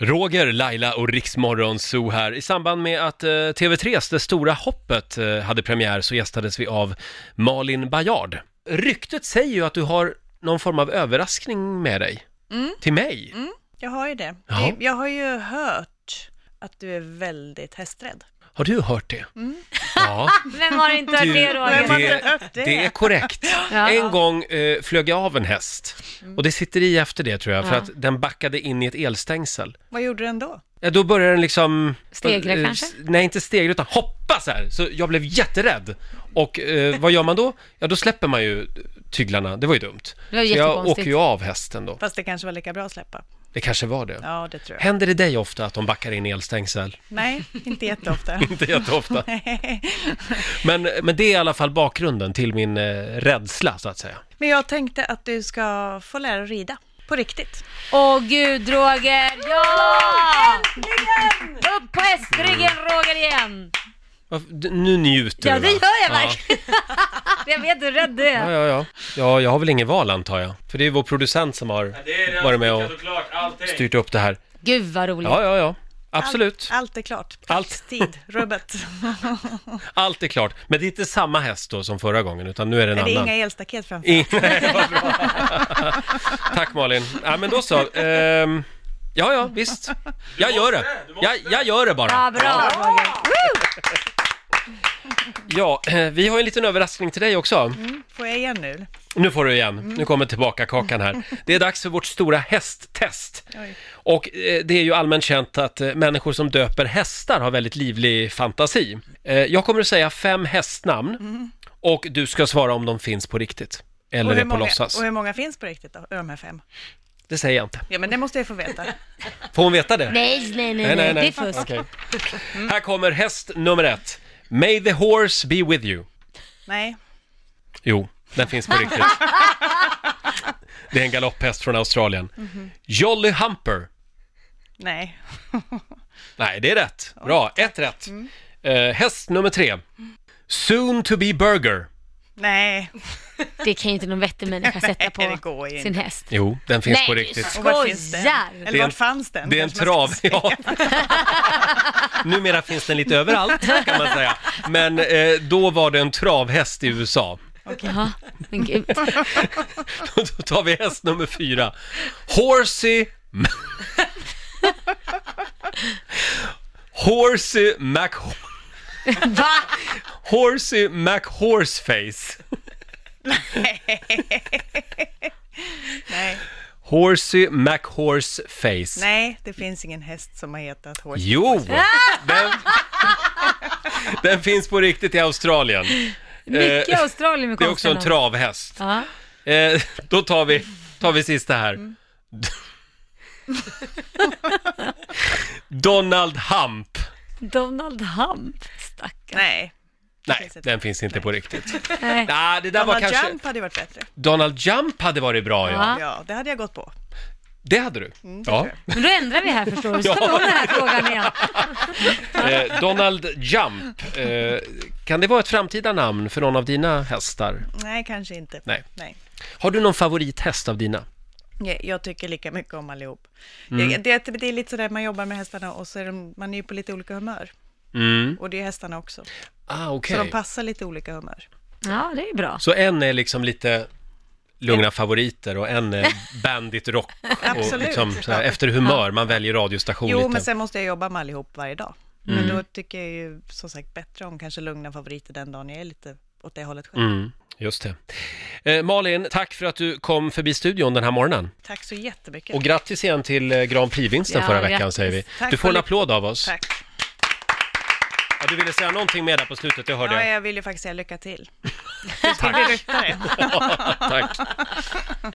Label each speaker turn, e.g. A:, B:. A: Roger, Laila och Riksmorgon Zoo här. I samband med att eh, TV3s Det stora hoppet eh, hade premiär så gästades vi av Malin Bajard. Ryktet säger ju att du har någon form av överraskning med dig. Till mig?
B: Jag har ju det.
A: Ja.
B: Det- Jag har ju hört att du är väldigt hästrädd.
A: Har du hört det? Ja,
C: Vem har inte hört
A: Du,
C: det
B: Vem har
C: Roger?
A: det-
B: inte hört det?
A: det är korrekt.
C: Ja.
A: En gång eh, flög jag av en häst och det sitter i efter det tror jag, för
C: Ja.
A: att den backade in i ett elstängsel.
B: Vad gjorde den då?
A: Ja, då började den liksom...
C: Stegra
A: eh,
C: kanske?
A: s- Nej, inte stegra utan hoppa så här. Så jag blev jätterädd. Och eh, vad gör man då? Ja, då släpper man ju tyglarna. Det var ju dumt.
C: Det var
A: så jag
C: jättekonstigt.
A: åker ju av hästen då.
B: Fast det kanske var lika bra att släppa.
A: Det kanske var det.
B: Ja, det tror jag.
A: Händer det dig ofta att de backar in i elstängsel?
B: Nej, inte jätteofta.
A: Inte jätteofta. men, men det är i alla fall bakgrunden till min eh, rädsla, så att säga.
B: Men jag tänkte att du ska få lära dig rida. På riktigt.
C: Åh gud Roger, ja! Upp på
A: Mm.
C: hästryggen Roger igen!
A: Varför- d- Nu njuter
C: Ja
A: du, va?
C: det gör jag
A: Ja.
C: verkligen! Jag vet hur rädd du
A: Ja,
C: är.
A: ja, ja. Ja, jag har väl ingen val antar jag. För det är vår producent som har varit med och styrt upp det här.
C: Gud vad roligt.
A: Ja, ja, ja. Absolut.
B: Allt, allt är klart.
A: Allt.
B: Tid, rubbet.
A: Allt är klart. Men det är inte samma häst då som förra gången, utan nu är det en
B: Är det
A: annan.
B: inga elstaket framför?
A: I- Nej, vad bra. Tack Malin. Ja, men då så. Ehm, ja, ja, visst. Jag gör det. Jag, jag gör det
C: Ja,
A: bara.
C: bra.
A: Ja, eh, vi har en liten överraskning till dig också.
B: Får jag igen nu?
A: Nu får du igen.
B: Mm.
A: Nu kommer tillbaka kakan här. Det är dags för vårt stora hästtest.
B: Oj.
A: Och eh, det är ju allmänt känt att eh, människor som döper hästar har väldigt livlig fantasi. Eh, jag kommer att säga fem hästnamn och du ska svara om de finns på riktigt. Eller
B: och, hur
A: är på
B: många,
A: låtsas.
B: och hur många finns på riktigt då? Av de här fem?
A: Det säger jag inte.
B: Ja, men det måste jag få veta.
A: Får hon veta det?
C: Nej, nej, nej, nej, det är fusk.
A: Okej. Här kommer häst nummer ett. May the horse be with you.
B: Nej.
A: Jo, den finns på riktigt. Det är en galopphäst från Australien. Jolly Humper.
B: Nej.
A: Nej, det är rätt. Bra, ett rätt. Eh, häst nummer tre. Soon to be burger.
B: Nej.
C: Det kan ju inte någon vettig människa sätta
B: Nej, det
C: på
B: går ju
C: sin häst.
A: Jo, den finns
C: Nej,
A: på
C: du
A: riktigt.
C: skojar.
B: Och vart finns den?
C: Skojar.
A: Det
B: Eller
A: är en-
B: vart fanns den?
A: Det är en
B: Kanske man
A: trav,
B: ska
A: ja. Numera finns den lite överallt kan man säga. Men eh, då var det en travhäst i USA.
C: Jaha, men gud.
A: Då tar vi häst nummer fyra. Horsey... Horsey Mac...
C: Va?
A: Horsey Mac Horseface.
B: Nej.
A: Horsey Mac Horseface.
B: Nej, det finns ingen häst som har hetat Horse.
A: Jo! Den, den finns på riktigt i Australien.
C: Mycket
A: Eh,
C: Australien med
A: Det är också en
C: konstiga namn.
A: travhäst.
C: Ja.
A: Eh, då tar vi, tar vi sista här. Donald Hump.
C: Donald Hump, stackarn.
B: Nej.
A: Nej,
B: Finns inte.
A: den finns inte på riktigt.
C: Nej.
A: Nej, det där
B: Donald
A: var kanske...
B: Jump hade ju varit bättre.
A: Donald Jump hade varit bra, ja.
C: Ja.
B: Ja, Mm, det hade jag gått på.
A: Det hade du. ja.
C: Men då ändrar vi här förstår du, så tar vi om den här frågan igen.
A: Eh, Donald Jump. Eh, kan det vara ett framtida namn för någon av dina hästar?
B: Nej, kanske inte.
A: Nej.
B: Nej.
A: Har du någon favorithäst av dina?
B: Jag, jag tycker lika mycket om allihop.
A: Mm.
B: Jag, det, det är lite sådär, man jobbar med hästarna och så är de, man är ju på lite olika humör.
A: Mm.
B: Och det är hästarna också.
A: Ah, okej.
B: Så de passar lite olika humör.
C: Ja, det är bra.
A: Så en är liksom lite lugna favoriter och en är bandit rock och
B: Absolut.
A: liksom så här, efter humör, man väljer radiostation
B: Jo,
A: lite.
B: men sen måste jag jobba med allihop varje dag. Men
A: Mm.
B: då tycker jag ju som sagt bättre om kanske lugna favoriter den dagen jag är lite åt det hållet själv.
A: Mm, just det. Eh, Malin, tack för att du kom förbi studion den här morgonen.
B: Tack så jättemycket.
A: Och grattis igen till eh, Grand Prix-vinsten
C: Ja,
A: förra veckan
C: grattis.
A: säger vi.
B: Tack
A: Du får
B: och
A: en
B: lyck-
A: applåd av oss.
B: Tack.
A: Ja, du ville säga någonting mer där på slutet, jag hörde.
B: Ja, jag vill ju faktiskt säga lycka till.
A: Tack.
B: Ryttare.
A: Tack.